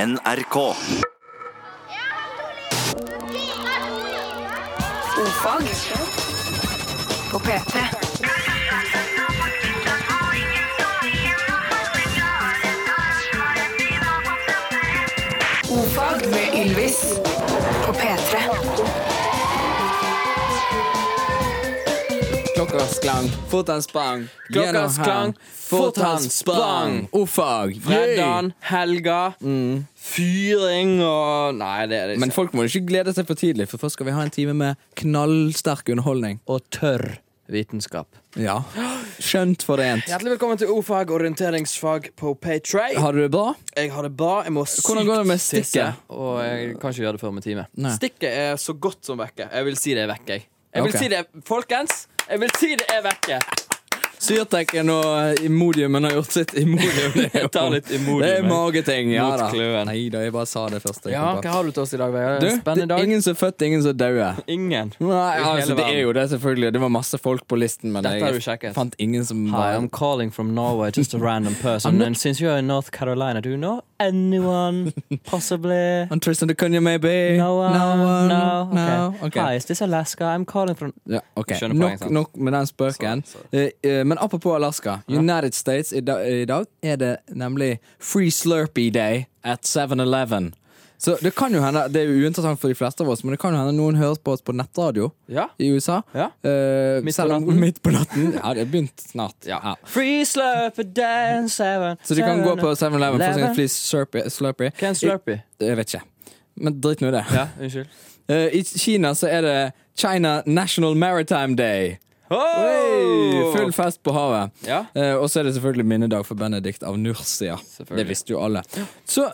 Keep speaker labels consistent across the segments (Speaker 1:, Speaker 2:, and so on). Speaker 1: NRK.
Speaker 2: Ofag på P3. Ofag med Ylvis på P3.
Speaker 3: Klokka sklang, fort han sprang.
Speaker 4: Klokka
Speaker 3: Gjennom Oh,
Speaker 4: sklang,
Speaker 3: han,
Speaker 4: fort han sprang.
Speaker 3: Ofag.
Speaker 4: Fredagen, helga, fyring og Nei, det er det
Speaker 3: Mm. Men folk må ikke glede seg for tidlig, for først skal vi ha en time med knallsterk underholdning.
Speaker 4: Og tørr vitenskap.
Speaker 3: Ja. Skjønt forent.
Speaker 4: Hjertelig velkommen til O-fag, orienteringsfag på Paytray.
Speaker 3: Har du det bra?
Speaker 4: Jeg har det bra. Jeg må sykt
Speaker 3: Hvordan går det med
Speaker 4: tisse,
Speaker 3: stikket?
Speaker 4: Og jeg kan ikke gjøre det før om en time.
Speaker 3: Nei.
Speaker 4: Stikket er så godt som vekke. Jeg vil si det er vekke, jeg. Jeg vil
Speaker 3: Ok.
Speaker 4: si det er, Folkens, jeg vil si det er vekke.
Speaker 3: Syrtekken og eh, Imodiumen har gjort sitt. Imodium det er jo-
Speaker 4: Ta litt Imodium,
Speaker 3: Det er
Speaker 4: jeg.
Speaker 3: mageting. Ja
Speaker 4: Mot
Speaker 3: da.
Speaker 4: kløen.
Speaker 3: Nei da, jeg bare sa det først. jeg
Speaker 4: Ja,
Speaker 3: kom på.
Speaker 4: Hva har du til oss i dag, Vegard?
Speaker 3: Du,
Speaker 4: En Spennende
Speaker 3: det er
Speaker 4: dag?
Speaker 3: ingen som er født, ingen som er døde.
Speaker 4: Ingen.
Speaker 3: Nei,
Speaker 4: I
Speaker 3: altså,
Speaker 4: hele
Speaker 3: det er
Speaker 4: verden.
Speaker 3: jo det, selvfølgelig. Det var masse folk på listen, men
Speaker 4: Dette har du
Speaker 3: jeg
Speaker 4: sjekket.
Speaker 3: fant ingen som
Speaker 4: Hi,
Speaker 3: var
Speaker 4: I'm calling from Norway, just a random person. and since you're in North Carolina, do you know anyone? Possibly?
Speaker 3: On Tristan da Cunha, maybe?
Speaker 4: No one?
Speaker 3: No one?
Speaker 4: No?
Speaker 3: No?
Speaker 4: Okay. Ah,
Speaker 3: Ok.
Speaker 4: Hi, is this Alaska? I'm calling from
Speaker 3: Ja, ok.
Speaker 4: Skjønner poenget,
Speaker 3: Nok,
Speaker 4: sant?
Speaker 3: nok med den spøken.
Speaker 4: Sorry,
Speaker 3: Eh, eh, men apropos Alaska. United States i, da, i dag er det nemlig Free Slurpee Day at 7-Eleven. Så det kan jo hende, det er jo uinteressant for de fleste av oss, men det kan jo hende noen hører på oss på nettradio
Speaker 4: Ja.
Speaker 3: i USA.
Speaker 4: Ja.
Speaker 3: Eh,
Speaker 4: Midt på
Speaker 3: selv om-
Speaker 4: natten.
Speaker 3: Midt på natten. Ja, det er begynt snart. Ja.
Speaker 4: Free Slurpee Day seven.
Speaker 3: Så de kan gå på 7-Eleven for å si
Speaker 4: Eleven.
Speaker 3: Free Slurpee. slurpee. Eh,
Speaker 4: Hva er en Slurpee?
Speaker 3: Jeg, jeg vet ikke. Men drit nå i det.
Speaker 4: Ja, unnskyld.
Speaker 3: Eh, I Kina så er det China National Maritime Day. Hey, full fest på havet.
Speaker 4: Ja.
Speaker 3: Eh, og så er det selvfølgelig minnedag for Benedikt av Nursia.
Speaker 4: Selvfølgelig.
Speaker 3: Det visste jo alle. Så,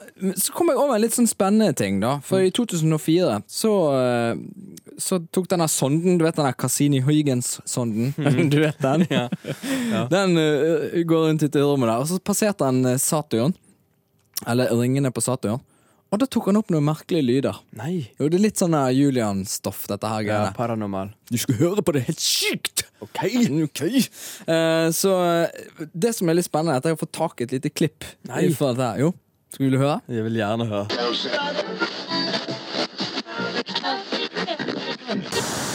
Speaker 3: så kom jeg over en litt sånn spennende ting, da. For
Speaker 4: Mm.
Speaker 3: i 2004 så, eh, så tok denne sonden, du vet den der Cassini-Huygens-sonden?
Speaker 4: Mhm.
Speaker 3: Du vet den? Den eh, går rundt i rommet der, og så passerte han eh, Saturn. Eller ringene på Saturn. Og da tok han opp noen merkelige lyder.
Speaker 4: Nei.
Speaker 3: Jo, det er litt sånn eh, Julian-stoff, dette her
Speaker 4: Ja,
Speaker 3: greiene.
Speaker 4: paranormal.
Speaker 3: Du skal høre på det helt sykt! Ok, ok. Eh, så eh, det som er litt spennende, er at jeg har fått tak i et lite klipp.
Speaker 4: Nei.
Speaker 3: fra dette her. Jo, skal du høre?
Speaker 4: Jeg vil gjerne høre.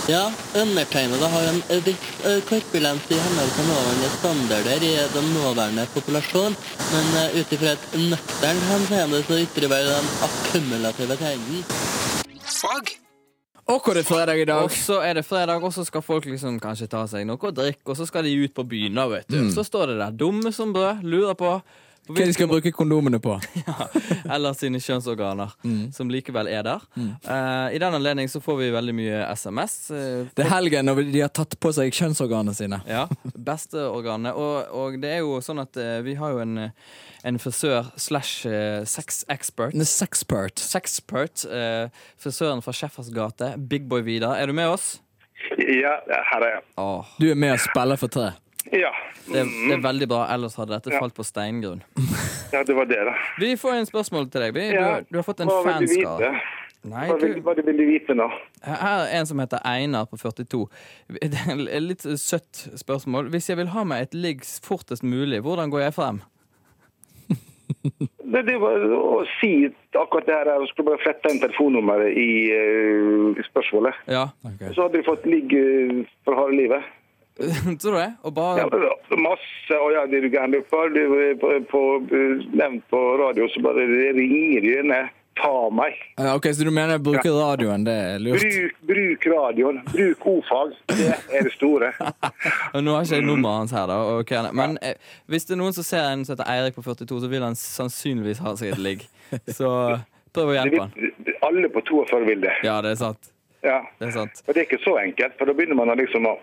Speaker 5: Ja, undertegnede har en litt eh, korpulent i henhold til nåværende standarder i den nåværende populasjon, men eh, ut ifra et nøkternt henseende så ytrer vel den akkumulative tegnen.
Speaker 3: Og hvor er det fredag i dag?
Speaker 4: Og så er det fredag, og så skal folk liksom kanskje ta seg noe å drikke, og så skal de ut på byen, da, vet du. Så står det der, dumme som brød, lurer på på
Speaker 3: Hva de skal bruke kondomene på?
Speaker 4: eller sine kjønnsorganer, som likevel er der. Eh, I den anledning så får vi veldig mye SMS. eh,
Speaker 3: Det er helgen når de har tatt på seg kjønnsorganene sine.
Speaker 4: ja, beste organet. Og, og det er jo sånn at eh, vi har jo en, en frisør slash eh, sex expert.
Speaker 3: En sexpert.
Speaker 4: Sexpert. eh, frisøren fra Schæffers gate. Big Boy Vidar, er du med oss?
Speaker 6: Ja, her er jeg.
Speaker 4: Åh,
Speaker 3: Du er med og spiller for tre.
Speaker 6: Ja,
Speaker 4: det, det er veldig bra. Ellers hadde dette falt på steingrunn.
Speaker 6: ja det var det, da.
Speaker 4: Vi får en spørsmål til deg. Vi,
Speaker 6: Ja,
Speaker 4: du, du har fått en
Speaker 6: hva vil du
Speaker 4: fanskare.
Speaker 6: vite?
Speaker 4: Nei,
Speaker 6: Hva
Speaker 4: du,
Speaker 6: vil, hva du vil du vite nå?
Speaker 4: Her er en som heter Einar på 42. Det er et litt søtt spørsmål. Hvis jeg vil ha meg et ligg fortest mulig, hvordan går jeg frem?
Speaker 6: Det, det var å si akkurat det her. Jeg skulle bare flette inn telefonnummeret i eh, spørsmålet.
Speaker 4: Ja,
Speaker 6: Så hadde du fått ligg eh, for harde livet.
Speaker 4: tror du det? Og
Speaker 6: Ja,
Speaker 4: bare
Speaker 6: masse og ja, det er du gæren du er på. Du er på, på, eh, nevnt på radio, så bare ringer de inn. Ta meg.
Speaker 3: Ja, ok, Så du mener bruke radioen? Det er lurt.
Speaker 6: Bruk, bruk radioen. Bruk ordfag. Det er det store.
Speaker 4: Og Nå har ikke jeg nummeret hans her, da. og hva han er- Men eh, hvis det er noen som ser en som heter Eirik på 42, så vil han sannsynligvis ha seg et ligg. Så prøv å
Speaker 6: Det
Speaker 4: hjelpe han.
Speaker 6: vil, alle på 42 vil det.
Speaker 4: Ja, det er sant.
Speaker 6: Ja.
Speaker 4: Det er sant.
Speaker 6: Og det er ikke så enkelt, for da begynner man å liksom å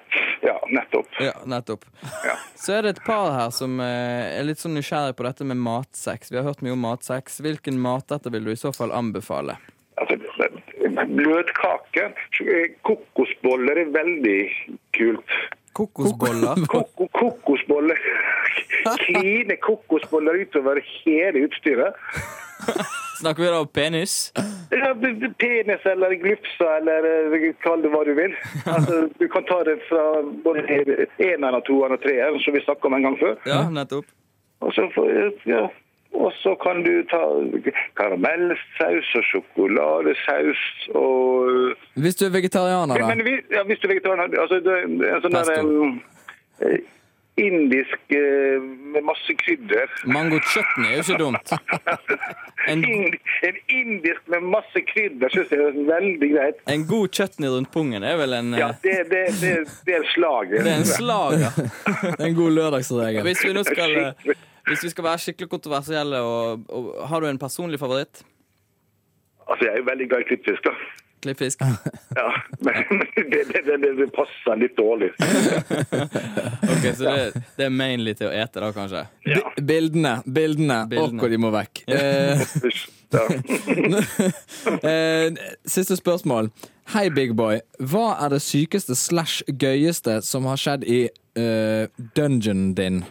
Speaker 6: Ja, nettopp.
Speaker 4: Ja, nettopp.
Speaker 6: Ja.
Speaker 4: Så er det et par her som eh, er litt sånn nysgjerrig på dette med matsex. Vi har hørt mye om matsex. Hvilken matretter vil du i så fall anbefale?
Speaker 6: Altså, bløtkake. Kokosboller er veldig kult.
Speaker 4: Kokosboller.
Speaker 6: Koko, kokosboller. Kline kokosboller utover hele utstyret.
Speaker 4: Snakker vi da om penis?
Speaker 6: Ja, b- b- Penis eller glufsa eller eh, kall det hva du vil. Altså, du kan ta det fra både eneren og toeren og treeren, som vi snakka om en gang før.
Speaker 4: Ja, nettopp.
Speaker 6: Og så får ja, Og så kan du ta karamellsaus og sjokoladesaus og
Speaker 3: Hvis du er vegetarianer,
Speaker 6: Men
Speaker 3: da.
Speaker 6: vi, ja, hvis du er vegetarianer altså, det er En sånn der,
Speaker 3: Pesto.
Speaker 6: em, eh, indisk eh, med masse krydder.
Speaker 4: Mango chutney er jo ikke dumt. En,
Speaker 6: Ind, en indisk med masse krydder syns jeg er veldig greit.
Speaker 4: en god chutney rundt pungen er vel en
Speaker 6: Ja,
Speaker 4: eh,
Speaker 6: det, det, det, det er slaget.
Speaker 4: Det er en slager.
Speaker 3: Det er en god lørdagsregel.
Speaker 4: Hvis vi nå skal eh, Hvis vi skal være skikkelig kontroversielle, og, og har du en personlig favoritt?
Speaker 6: Altså, jeg er jo veldig glad i klippfisk, da.
Speaker 4: Klippfisk.
Speaker 6: Ja, men det, det, det, det, det passer litt dårlig.
Speaker 4: Ok, Så det, det er mainly til å ete, da, kanskje?
Speaker 6: Ja.
Speaker 3: Bi- Bildene. Bildene.
Speaker 4: Bildene.
Speaker 3: Åh, hvor de må vekk. Eh,
Speaker 6: Ja.
Speaker 3: eh, siste spørsmål. Hei, big boy. Hva er det sykeste slash gøyeste som har skjedd i eh, dungeonen din?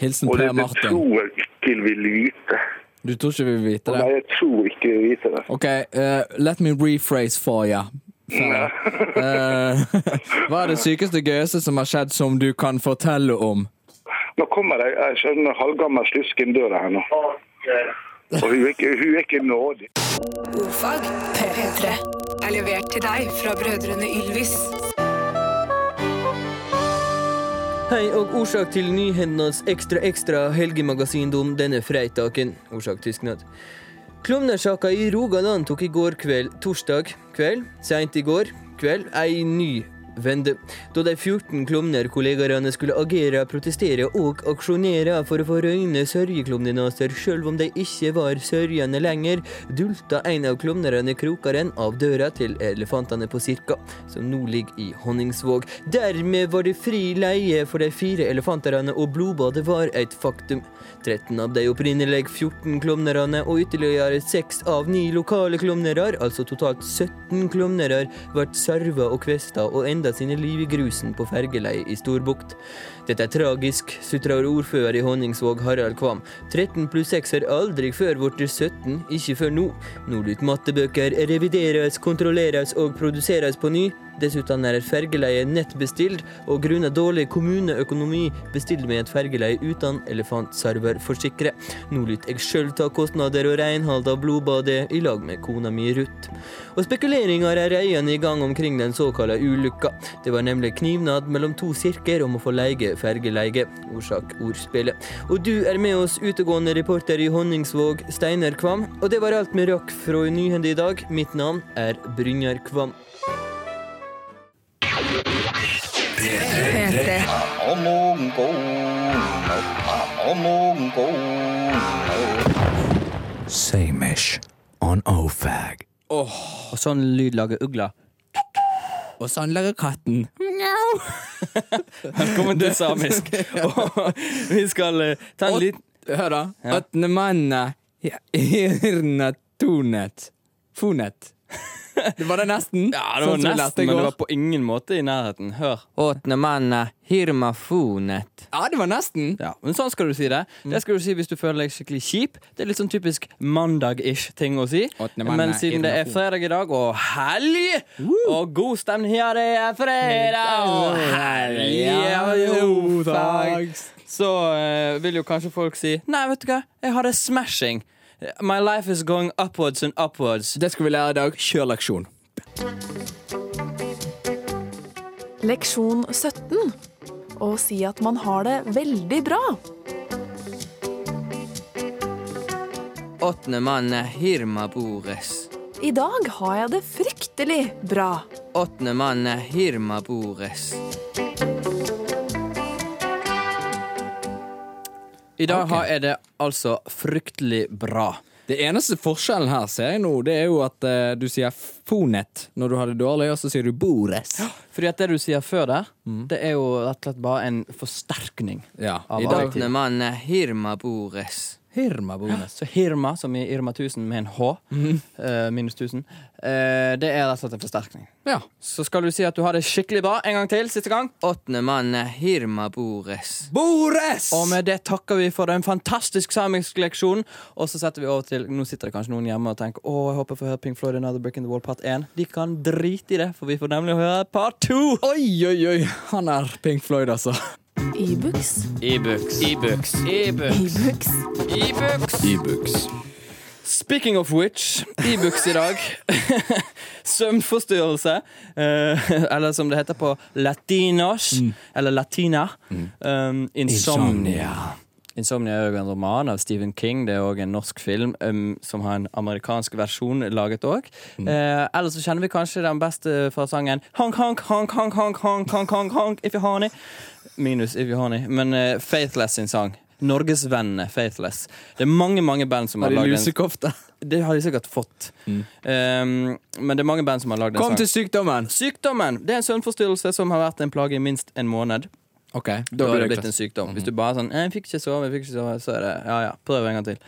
Speaker 3: Hilsen
Speaker 6: Og det,
Speaker 3: Per
Speaker 6: det
Speaker 3: Martin.
Speaker 6: tror jeg ikke jeg vil vite.
Speaker 3: Du tror ikke vi vil vite
Speaker 6: Nei,
Speaker 3: det?
Speaker 6: jeg tror ikke jeg vil vite det.
Speaker 3: OK, eh, let me rephrase for you. Hva er det sykeste gøyeste som har skjedd som du kan fortelle om?
Speaker 6: Nå kommer jeg, jeg skjønner halvgammel slusk inn døra her nå. Og hun er ikke, hun er ikke nådig.
Speaker 2: Ordfag P3 er levert til deg fra brødrene Ylvis.
Speaker 1: Hei og årsak til nyhendenes ekstra ekstra helgemagasindom denne freitaken. Årsak tysknad. Klovnesjaka i Rogaland tok i går kveld, torsdag kveld, seint i går kveld, ei ny vende. Da de 14 klovnerkollegaene skulle agere, protestere og aksjonere for å få røyne sørgeklovnenaser, sjøl om de ikke var sørgende lenger, dulta en av klovnerne krokeren av døra til elefantene på Sirka, som nå ligger i Honningsvåg. Dermed var det fri leie for de fire elefanterne, og blodbadet var et faktum. 13 av de opprinnelige 14 klovnerne og ytterligere 6 av 9 lokale klovnerer, altså totalt 17 klovnerer, ble sarva og kvesta og enda sine liv i grusen på fergeleie i Storbukt. Dette er tragisk, sutrer ordfører i Honningsvåg Harald Kvam. 13 pluss 6 er aldri før blitt 17, ikke før nå. Nå lyt mattebøker revideres, kontrolleres og produseres på ny. Dessuten er et fergeleie nettbestilt, og grunnet dårlig kommuneøkonomi bestiller vi et fergeleie uten elefantserver, forsikre. Nå lyt jeg sjøl ta kostnader og renhold av blodbadet i lag med kona mi Ruth. Og spekuleringer er reiende i gang omkring den såkalte ulykka. Det var nemlig knivnad mellom to sirker om å få leie fergeleie. Orsak ordspillet. Og du er med oss utegående reporter i Honningsvåg, Steinar Kvam. Og det var alt vi rakk fra Nyhende i dag. Mitt navn er Brynjar Kvam.
Speaker 2: P3.
Speaker 7: Samish on OFAG.
Speaker 4: Og sånn lyd lager ugler.
Speaker 3: Og sånn lager katten.
Speaker 4: Velkommen til samisk. Og vi skal eh, ta en
Speaker 3: Åt-
Speaker 4: liten
Speaker 3: Hør da. Åttende manna hirna tonet. Fonet. Det var det nesten.
Speaker 4: Ja, det var
Speaker 3: Sånn som vi lærte i
Speaker 4: nesten, men det
Speaker 3: går.
Speaker 4: var på ingen måte i nærheten. Hør.
Speaker 1: Åtne manna hirmafonet.
Speaker 3: Ja, det var nesten.
Speaker 4: Ja, men sånn skal du si det.
Speaker 3: Mm.
Speaker 4: Det skal du si hvis du føler deg skikkelig kjip. Det er litt sånn typisk mandag-ish ting å si.
Speaker 3: Åttende mandag,
Speaker 4: Men siden det er
Speaker 3: irrasjon.
Speaker 4: fredag i dag, og helg, og god stemning her, det er fredag og helg, ja, jo, fag. så eh, vil jo kanskje folk si Nei, vet du hva, jeg har det smashing. My life is going upwards and upwards.
Speaker 3: Det skal vi lære i dag. Kjør leksjon.
Speaker 8: Leksjon 17. Å si at man har det veldig bra.
Speaker 1: Åtne manna hirmabores.
Speaker 8: I dag har jeg det fryktelig bra.
Speaker 1: Åtne manna hirmabores.
Speaker 4: I dag har jeg det altså fryktelig bra.
Speaker 3: Det eneste forskjellen her ser jeg nå, det er jo at eh, du sier fonet når du har det dårlig, og så sier du bores.
Speaker 4: Fordi at det du sier før der, det er jo rett og slett bare en forsterkning.
Speaker 3: Mm. Ja,
Speaker 4: Av
Speaker 3: i dag
Speaker 1: Åtne manna hirmabores.
Speaker 3: Hirma Mm. bonus.
Speaker 4: Så Hirma, som i Irma 1000 med en H, eh, minus 1000, eh, det er rett og slett en forsterkning.
Speaker 3: Ja.
Speaker 4: Så skal du si at du har det skikkelig bra en gang til, siste gang.
Speaker 1: Åtne manna hirmabores.
Speaker 3: Bores!
Speaker 4: Og med det takker vi for en fantastisk samisk leksjon. Og så setter vi over til Nå sitter det kanskje noen hjemme og tenker Å, jeg håper jeg får høre Pink Floyd Another Brick in the Wall part 1. De kan drite i det, for vi får nemlig høre part 2.
Speaker 3: Oi, oi, oi! Han er Pink Floyd, altså.
Speaker 8: Ibux.
Speaker 4: E-books. E-books.
Speaker 8: Ibux.
Speaker 4: E-books.
Speaker 3: E-books.
Speaker 4: Speaking of which, e-books i dag. Søvnforstyrrelse, eh, eller som det heter på latinos, eller latina. Um, insomnia. Insomnia er jo en roman av Stephen King. Det er òg en norsk film um, som har en amerikansk versjon laget òg.
Speaker 3: Mm.
Speaker 4: Eh, eller så kjenner vi kanskje den beste eh, fra sangen Honk, honk, honk, honk, honk, honk, honk, honk, honk if you honey. Minus if you honey. Men eh, Faithless sin sang. Norgesvennene Faithless. Det er mange mange band som har
Speaker 3: Har de
Speaker 4: lagd en
Speaker 3: lusekofte?
Speaker 4: det har de sikkert fått. Um, men det er mange band som har lagd en
Speaker 3: Kom
Speaker 4: sang.
Speaker 3: til sykdommen!
Speaker 4: Sykdommen! Det er en søvnforstyrrelse som har vært en plage i minst en måned.
Speaker 3: Ok,
Speaker 4: Da har det blitt en sykdom.
Speaker 3: Mhm.
Speaker 4: Hvis du bare er sånn 'Jeg fikk ikke sove', jeg fikk ikke sove, så er det ja ja, prøv en gang til.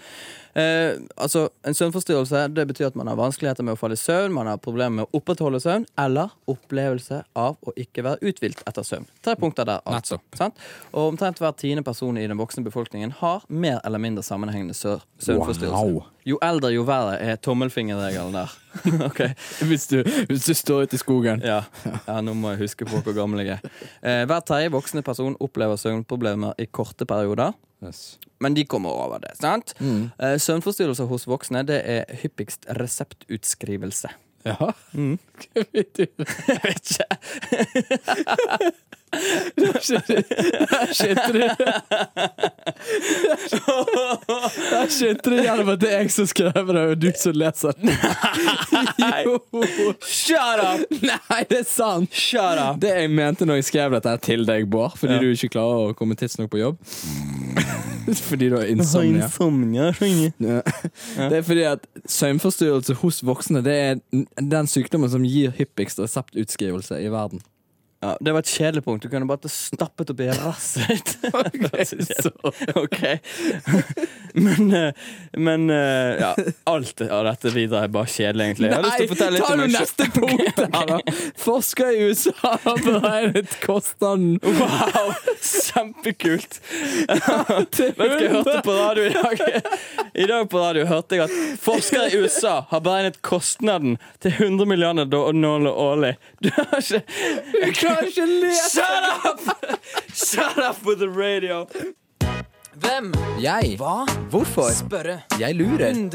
Speaker 4: Eh, altså, En søvnforstyrrelse det betyr at man har vanskeligheter med å falle i søvn, man har problemer med å opprettholde søvn, eller opplevelse av å ikke være uthvilt etter søvn. Tre punkter der, altså.
Speaker 3: Nettopp.
Speaker 4: Sant? Og omtrent hver tiende person i den voksne befolkningen har mer eller mindre sammenhengende sø søvnforstyrrelse.
Speaker 3: Wow.
Speaker 4: Jo eldre, jo verre er tommelfingerregelen der. ok
Speaker 3: Hvis du, hvis du står ute i skogen.
Speaker 4: ja. ja, nå må jeg huske på hvor gammel jeg er. Eh, hver tredje voksne person opplever søvnproblemer i korte perioder.
Speaker 3: Yes.
Speaker 4: Men de kommer over det. sant? Eh, søvnforstyrrelser hos voksne det er hyppigst reseptutskrivelse.
Speaker 3: Ja. Mm. Hva vet du?
Speaker 4: Jeg vet ikke.
Speaker 3: Der skjønte du Der skjønte du gjennom at det er jeg som skriver det, og du som leser det. Jo.
Speaker 4: Shut up!
Speaker 3: Nei, det er sant!
Speaker 4: Shut up!
Speaker 3: Det jeg mente når jeg skrev dette her til deg, Bård, fordi du ikke klarer å komme tidsnok på jobb
Speaker 4: Mm.
Speaker 3: Fordi du har Altså,
Speaker 4: Sånn,
Speaker 3: insomnia. Ja. Det er fordi at søvnforstyrrelse hos voksne Det er den sykdommen som gir hyppigst reseptutskrivelse i verden.
Speaker 4: Ja, det var et kjedelig punkt. Du kunne bare stappet opp i rasset ditt. ok. Men, eh, men eh, ja, alt av dette videre er bare kjedelig, egentlig. Jeg har lyst til å fortelle litt
Speaker 3: ta
Speaker 4: om
Speaker 3: nå
Speaker 4: meg selv.
Speaker 3: neste punkt her, da! Forskere i USA har beregnet kostnaden
Speaker 4: Wow, kjempekult! Vet du hva jeg hørte på radio i dag? I dag på radio hørte jeg at forskere i USA har beregnet kostnaden til 100 milliarder dollar årlig. Du har ikke
Speaker 3: Du klarer ikke å lese!
Speaker 4: Shut up! Shut up with the radio! Hvem?
Speaker 3: Jeg?
Speaker 4: Hva?
Speaker 3: Hvorfor?
Speaker 4: Spørre.
Speaker 3: Jeg lurer. Jeg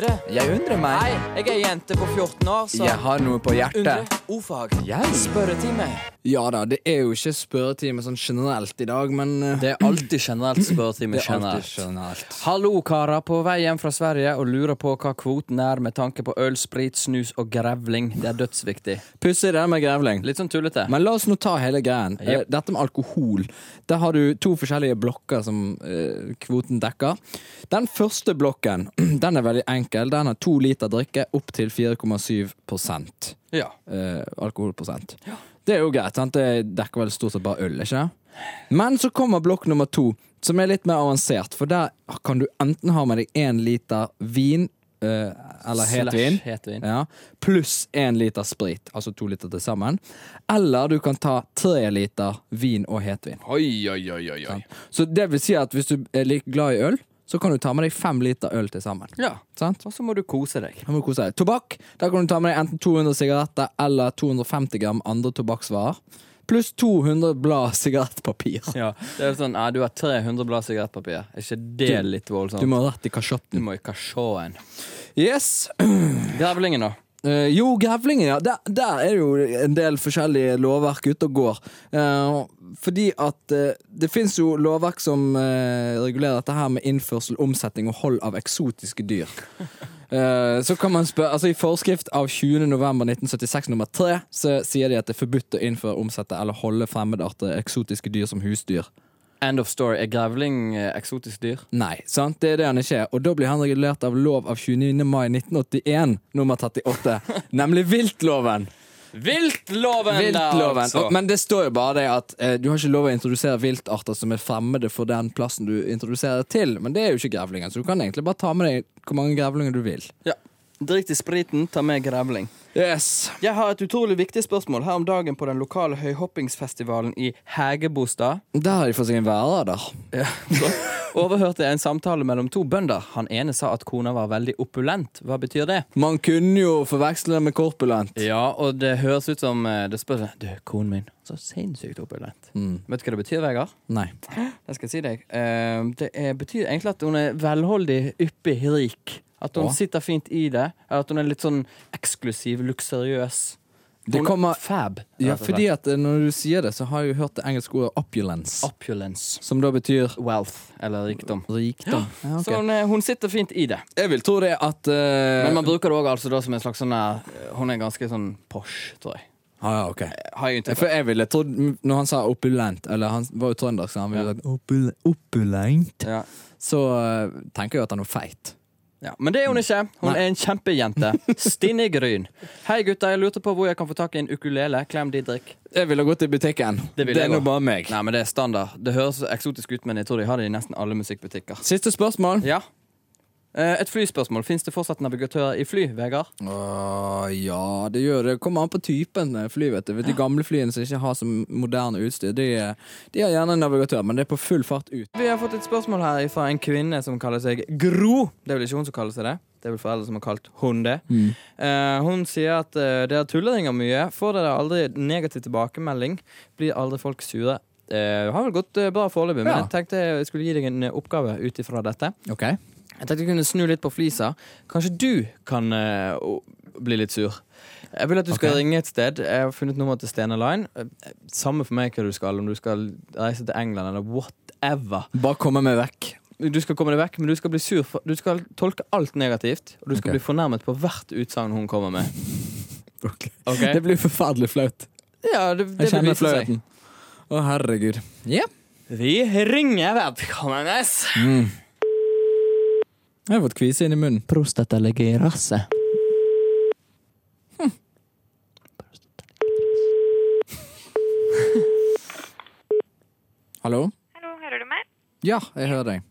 Speaker 3: undrer meg.
Speaker 4: jeg er jente på 14 år,
Speaker 3: Jeg har noe på hjertet.
Speaker 4: Ordfag.
Speaker 3: Jeg?
Speaker 4: Spørretime.
Speaker 3: Ja da, det er jo ikke spørretime sånn generelt i dag, men eh,
Speaker 4: Det er alltid generelt spørretime.
Speaker 3: det er alltid
Speaker 4: generelt.
Speaker 3: generelt.
Speaker 4: Hallo, karer, på vei hjem fra Sverige og lurer på hva kvoten er med tanke på øl, sprit, snus og grevling. Det er dødsviktig.
Speaker 3: Pussig det med grevling.
Speaker 4: Litt sånn tullete.
Speaker 3: Men la oss nå ta hele greien. Eh, Dette med alkohol. Der har du to forskjellige blokker som eh, kvoten dekker. Den første blokken den er veldig enkel. Den har to liter drikke opp til 4,7
Speaker 4: Ja.
Speaker 3: eh, alkoholprosent. Det er jo greit. sant? Det dekker vel stort sett bare øl. ikke det? Men så kommer blokk nummer to, som er litt mer avansert. For der kan du enten ha med deg én liter vin, eh, eller
Speaker 4: Slash
Speaker 3: het vin,
Speaker 4: hetvin.
Speaker 3: Ja, pluss én liter sprit, altså to liter til sammen. Eller du kan ta tre liter vin og hetvin.
Speaker 4: Oi, oi, oi, oi.
Speaker 3: sant? Så det vil si at hvis du er litt glad i øl, så kan du ta med deg fem liter øl til sammen.
Speaker 4: Ja.
Speaker 3: Sant?
Speaker 4: Og så må du kose deg.
Speaker 3: Her må du kose deg. Tobakk. Da kan du ta med deg enten 200 sigaretter eller 250 gram andre tobakksvarer. Pluss 200 blad sigarettpapir.
Speaker 4: Ja. Det er jo sånn, ja, Du har 300 blad sigarettpapir. Er ikke det
Speaker 3: Du-
Speaker 4: litt voldsomt?
Speaker 3: Du må rett i
Speaker 4: Du
Speaker 3: kasjotten.
Speaker 4: må ikke se en.
Speaker 3: Yes!
Speaker 4: Grevlingen, da.
Speaker 3: Eh, jo, grevlingen, ja. Der, der er det jo en del forskjellige lovverk ute og går. Eh, fordi at eh, det fins jo lovverk som eh, regulerer dette her med innførsel, omsetning og hold av eksotiske dyr. Eh, så kan man spørre, altså I forskrift av 20.11.1976 nummer 3 så sier de at det er forbudt å innføre, omsette eller holde fremmedarter, eksotiske dyr som husdyr.
Speaker 4: End of story. Er grevling eh, eksotisk dyr?
Speaker 3: Nei, sant? det er det han ikke er. Og da blir han regulert av lov av 29. mai 1981 nummer 38, nemlig viltloven.
Speaker 4: Viltloven,
Speaker 3: Viltloven.
Speaker 4: altså.
Speaker 3: Og- Men det står jo bare det at eh, du har ikke lov å introdusere viltarter som er fremmede for den plassen du introduserer til. Men det er jo ikke grevlingen, så du kan egentlig bare ta med deg hvor mange grevlinger du vil.
Speaker 4: ja. Drit i spriten, ta med grevling.
Speaker 3: Yes.
Speaker 4: Jeg har et utrolig viktig spørsmål. Her om dagen på den lokale høyhoppingsfestivalen i Hægebostad
Speaker 3: Der har de fått seg en værer.
Speaker 4: overhørte jeg en samtale mellom to bønder. Han ene sa at kona var veldig opulent. Hva betyr det?
Speaker 3: Man kunne jo forveksle det med korpulent.
Speaker 4: Ja, og det høres ut som eh, det spørs Du, konen min, så sinnssykt opulent. Vet du hva det betyr, Vegard?
Speaker 3: Nei.
Speaker 4: Det skal Mm. jeg si deg. Eh, det er, betyr egentlig at hun er velholdig, yppig, rik. At hun
Speaker 3: Å.
Speaker 4: sitter fint i det. At hun er litt sånn eksklusiv, luksuriøs.
Speaker 3: Det
Speaker 4: Hun er
Speaker 3: kommer-
Speaker 4: fab.
Speaker 3: Ja,
Speaker 4: rett og slett.
Speaker 3: fordi at eh, når du sier det, så har jeg jo hørt det engelske ordet opulence.
Speaker 4: Opulence.
Speaker 3: Som da betyr
Speaker 4: Wealth, eller rikdom.
Speaker 3: rikdom. Ja, ok.
Speaker 4: Så hun, eh, hun sitter fint i det.
Speaker 3: Jeg vil tro det at eh,
Speaker 4: Men man bruker det òg altså, da som en slags sånn eh, Hun er ganske sånn posh, tror jeg.
Speaker 3: ah, ja, ok.
Speaker 4: Har jeg inntrykk
Speaker 3: For
Speaker 4: av.
Speaker 3: jeg ville trodd Når han sa opulent, eller han var jo trønder, så han ville sagt opul opulent,
Speaker 4: Ja.
Speaker 3: så eh, tenker jeg at han er feit.
Speaker 4: Ja, men det er hun ikke. Hun er en kjempejente. Stinne Gryn. Hei, gutter. Jeg lurte på hvor jeg kan få tak i en ukulele. Klem Didrik.
Speaker 3: Jeg ville gått i butikken.
Speaker 4: Det ville
Speaker 3: er
Speaker 4: jeg
Speaker 3: nå
Speaker 4: også.
Speaker 3: bare meg.
Speaker 4: Nei, men Det er standard. Det høres eksotisk ut, men jeg tror de har det i nesten alle musikkbutikker.
Speaker 3: Siste spørsmål.
Speaker 4: Ja. Eh, Et flyspørsmål. Fins det fortsatt navigatører i fly, Vegard?
Speaker 3: Åh, ja, det gjør det. Kommer an på typen eh, fly, vet du. De gamle flyene som ikke har så moderne utstyr, de, eh, de har gjerne en navigatør, men det er på full fart ut.
Speaker 4: Vi har fått et spørsmål her fra en kvinne som kaller seg Gro. Det er vel ikke hun som kaller seg det. Det er vel foreldre som har kalt hun det. Eh, hun sier at eh, dere tulleringer mye. Får dere aldri negativ tilbakemelding? Blir aldri folk sure? Eh, har vel gått eh, bra foreløpig, men
Speaker 3: Ja.
Speaker 4: jeg tenkte jeg skulle gi deg en eh, oppgave ut ifra dette.
Speaker 3: Ok.
Speaker 4: Jeg tenkte jeg kunne snu litt på flisa. Kanskje du kan eh, o- bli litt sur. Jeg vil at du skal
Speaker 3: Ok.
Speaker 4: ringe et sted. Jeg har funnet nummeret til Stena Line. Eh, Samme for meg hva du skal, om du skal reise til England eller whatever.
Speaker 3: Bare komme meg vekk.
Speaker 4: Du skal komme deg vekk, men du skal bli sur for, Du skal tolke alt negativt, og du skal
Speaker 3: Ok.
Speaker 4: bli fornærmet på hvert utsagn hun kommer med. Ok?
Speaker 3: Det blir forferdelig flaut.
Speaker 4: ja, det,
Speaker 3: Jeg
Speaker 4: det vil
Speaker 3: kjenner
Speaker 4: vise seg.
Speaker 3: flauten. Å, herregud. Ja.
Speaker 4: Vi ringer vedkommende.
Speaker 3: Jeg har fått kvise inn i munnen.
Speaker 4: Prostata ligger i rasset.
Speaker 3: Hm. Hallo?
Speaker 9: Hallo, hører du meg?
Speaker 3: Ja, jeg hører deg.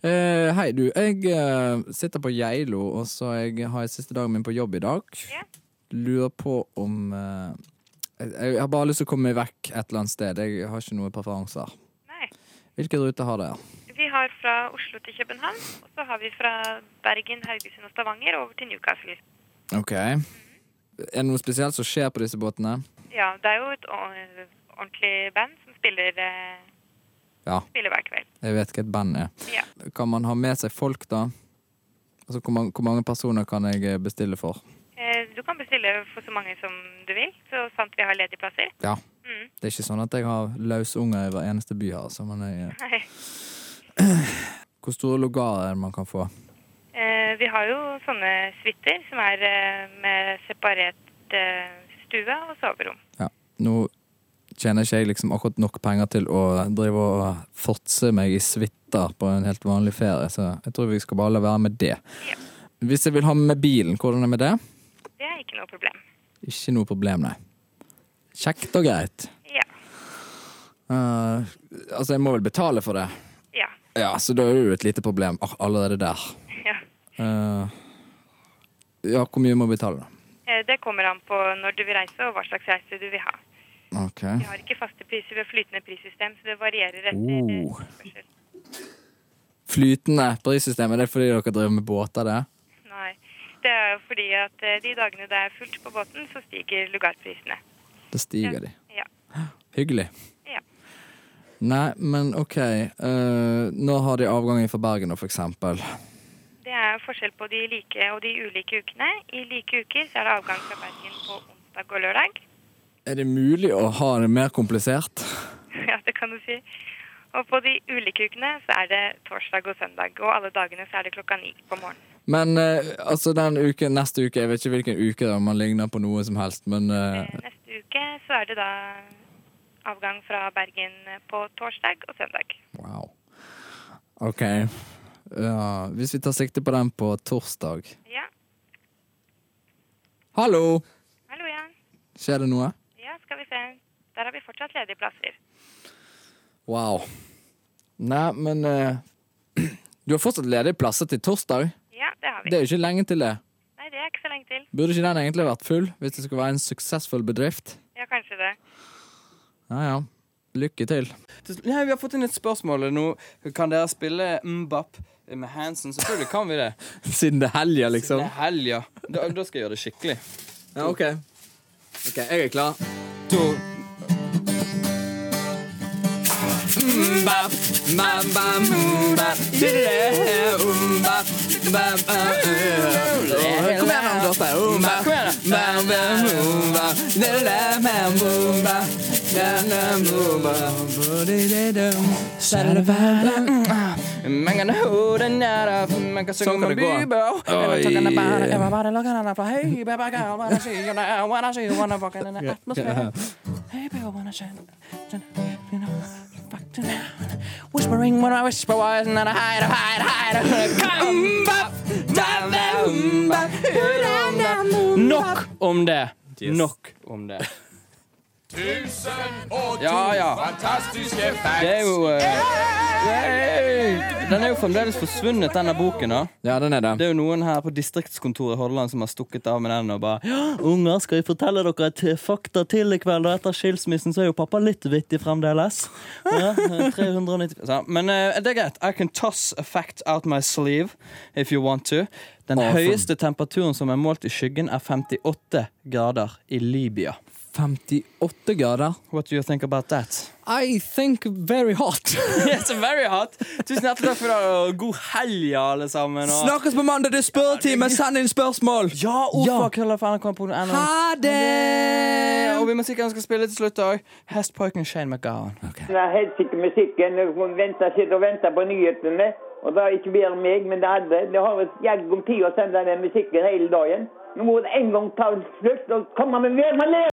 Speaker 3: Eh, hei, du. Jeg eh, sitter på Geilo, og så jeg har jeg siste dagen min på jobb i dag.
Speaker 9: Ja.
Speaker 3: Lurer på om eh, jeg, jeg har bare lyst til å komme meg vekk et eller annet sted. Jeg har ikke noen preferanser.
Speaker 9: Nei.
Speaker 3: Hvilke ruter har dere?
Speaker 9: Vi har fra Oslo til København, og så har vi fra Bergen, Haugesund og Stavanger over til Newcastle.
Speaker 3: Ok. Er det noe spesielt som skjer på disse båtene?
Speaker 9: Ja, det er jo et or- ordentlig band som spiller, eh,
Speaker 3: Ja.
Speaker 9: spiller hver kveld.
Speaker 3: Jeg vet hva et band er.
Speaker 9: Ja.
Speaker 3: Kan man ha med seg folk, da? Altså, hvor, mange, hvor mange personer kan jeg eh, bestille for?
Speaker 9: Eh, Du kan bestille for så mange som du vil, så sant vi har ledige plasser.
Speaker 3: Ja.
Speaker 9: Mm.
Speaker 3: Det er ikke sånn at jeg har løsunger i hver eneste by her. Så man er, eh,
Speaker 9: Nei.
Speaker 3: hvor store logarer er det man kan få?
Speaker 9: Eh, Vi har jo sånne suiter som er eh, med separert eh, stue og soverom.
Speaker 3: Ja. Nå tjener ikke jeg liksom akkurat nok penger til å drive og fortse meg i suiter på en helt vanlig ferie, så jeg tror vi skal bare la være med det.
Speaker 9: Ja.
Speaker 3: Hvis jeg vil ha med meg bilen, hvordan er det med det?
Speaker 9: Det er ikke noe problem.
Speaker 3: Ikke noe problem, nei. Kjekt og greit.
Speaker 9: Ja.
Speaker 3: Eh, altså, jeg må vel betale for det.
Speaker 9: Ja.
Speaker 3: Ja, så da er det jo et lite problem ah, allerede der.
Speaker 9: ja.
Speaker 3: Eh, ja, hvor mye må jeg betale, da?
Speaker 9: Eh, Det kommer an på når du vil reise og hva slags reise du vil ha.
Speaker 3: Ok.
Speaker 9: Vi har ikke faste priser ved flytende prissystem, så det varierer etter eh,
Speaker 3: Oh.
Speaker 9: etterspørsel.
Speaker 3: Flytende prissystemet, det er fordi dere driver med båter, det?
Speaker 9: Nei. Det er jo fordi at eh, de dagene det er fullt på båten, så stiger lugarprisene.
Speaker 3: Da stiger de.
Speaker 9: Ja.
Speaker 3: Hyggelig.
Speaker 9: Ja.
Speaker 3: Nei, men ok. eh, nå har de avgangen fra Bergen, da, for eksempel.
Speaker 9: Det er forskjell på de like og de ulike ukene. I like uker så er det avgang fra Bergen på onsdag og lørdag.
Speaker 3: Er det mulig å ha det mer komplisert?
Speaker 9: Ja, det kan du si. Og på de ulike ukene så er det torsdag og søndag, og alle dagene så er det klokka ni på morgenen.
Speaker 3: Men eh, altså, den uken, neste uke, jeg vet ikke hvilken uke det er, om man ligner på noe som helst, men eh,
Speaker 9: Eh, Neste uke så er det da avgang fra Bergen på torsdag og søndag.
Speaker 3: wow. Ok. Ja, hvis vi tar sikte på den på torsdag
Speaker 9: Ja.
Speaker 3: Hallo!
Speaker 9: Hallo igjen.
Speaker 3: Skjer det noe?
Speaker 9: Ja, skal vi se. Der har vi fortsatt ledige plasser.
Speaker 3: Wow. Nei, men eh, Du har fortsatt ledige plasser til torsdag?
Speaker 9: Ja, det har vi.
Speaker 3: Det er jo ikke lenge til det.
Speaker 9: Nei, det er ikke så lenge til.
Speaker 3: Burde ikke den egentlig vært full, hvis det skulle være en suksessfull bedrift?
Speaker 9: Ja, kanskje det.
Speaker 3: Ja ja. Lykke til.
Speaker 4: Nei, vi har fått inn et spørsmål nå. Kan dere spille Mbap med Hansen? Selvfølgelig kan vi det.
Speaker 3: Siden det er helga,
Speaker 4: Det
Speaker 3: liksom.
Speaker 4: er helg, ja. Da, da skal jeg gjøre det skikkelig.
Speaker 3: Ja, OK. Ok, Jeg er klar.
Speaker 4: To.
Speaker 3: Mbap, mbap, mbap, mbap, tidere, mbap, mbap, mbap, mbap. Kom igjen, nå, Dorte. Mbap,
Speaker 4: Kom igjen, da.
Speaker 3: mbap, mbap, mbap, tidere, mbap, mbap, tidere, mbap, mbap.
Speaker 4: Man kan hold den der up, man kan synge
Speaker 3: Sånn kan
Speaker 4: med
Speaker 3: det gå.
Speaker 4: Bieber.
Speaker 3: Oi.
Speaker 4: Talking about it, everybody looking at it, but hey, baby girl, wanna see you now, wanna see you, wanna walk in the atmosphere. Hey, baby, wanna see you, you know, fuck you now. Whispering when I whisper wise and then I hide, hide, hide. Come back, down, down, back, down, down. Nok om det. Nok om det. Ja, ja. Det er jo eh, Den er jo fremdeles forsvunnet, denne boken. da
Speaker 3: Ja, den er
Speaker 4: Det
Speaker 3: det.
Speaker 4: er jo noen her på distriktskontoret i Hordaland som har stukket av med den og bare «Ja, Unger, skal jeg fortelle dere et eh, fakta til i kveld? Og etter skilsmissen så er jo pappa litt vittig fremdeles. Ja, 390 Så, Men eh, det er greit. I can toss a fact out my sleeve if you want to. Den
Speaker 3: Awesome.
Speaker 4: høyeste temperaturen som er målt i skyggen, er 58 grader i Libya.
Speaker 3: 58 grader.
Speaker 4: What do you think about that?
Speaker 3: I think very hot.
Speaker 4: It's very hot. Tusen hjertelig takk for i dag, og god helg, alle sammen. Og...
Speaker 3: Snakkes på mandag, det er spørretime. Send inn spørsmål.
Speaker 4: Ja, oh, ordførerkrøllalfa.nrk.no.
Speaker 3: oh, Ha det!
Speaker 4: Eh, Og vi må sikkert skal spille til slutt òg. Hestpoiken Shane McGowan.
Speaker 10: Jeg helst ikke musikken. Hun venter, sitter og venter på nyhetene. Og da ikke bare meg, men det andre. Det har et jagg om tid å sende den musikken hele dagen. Nå må det en gang ta slutt og komme med mer maner!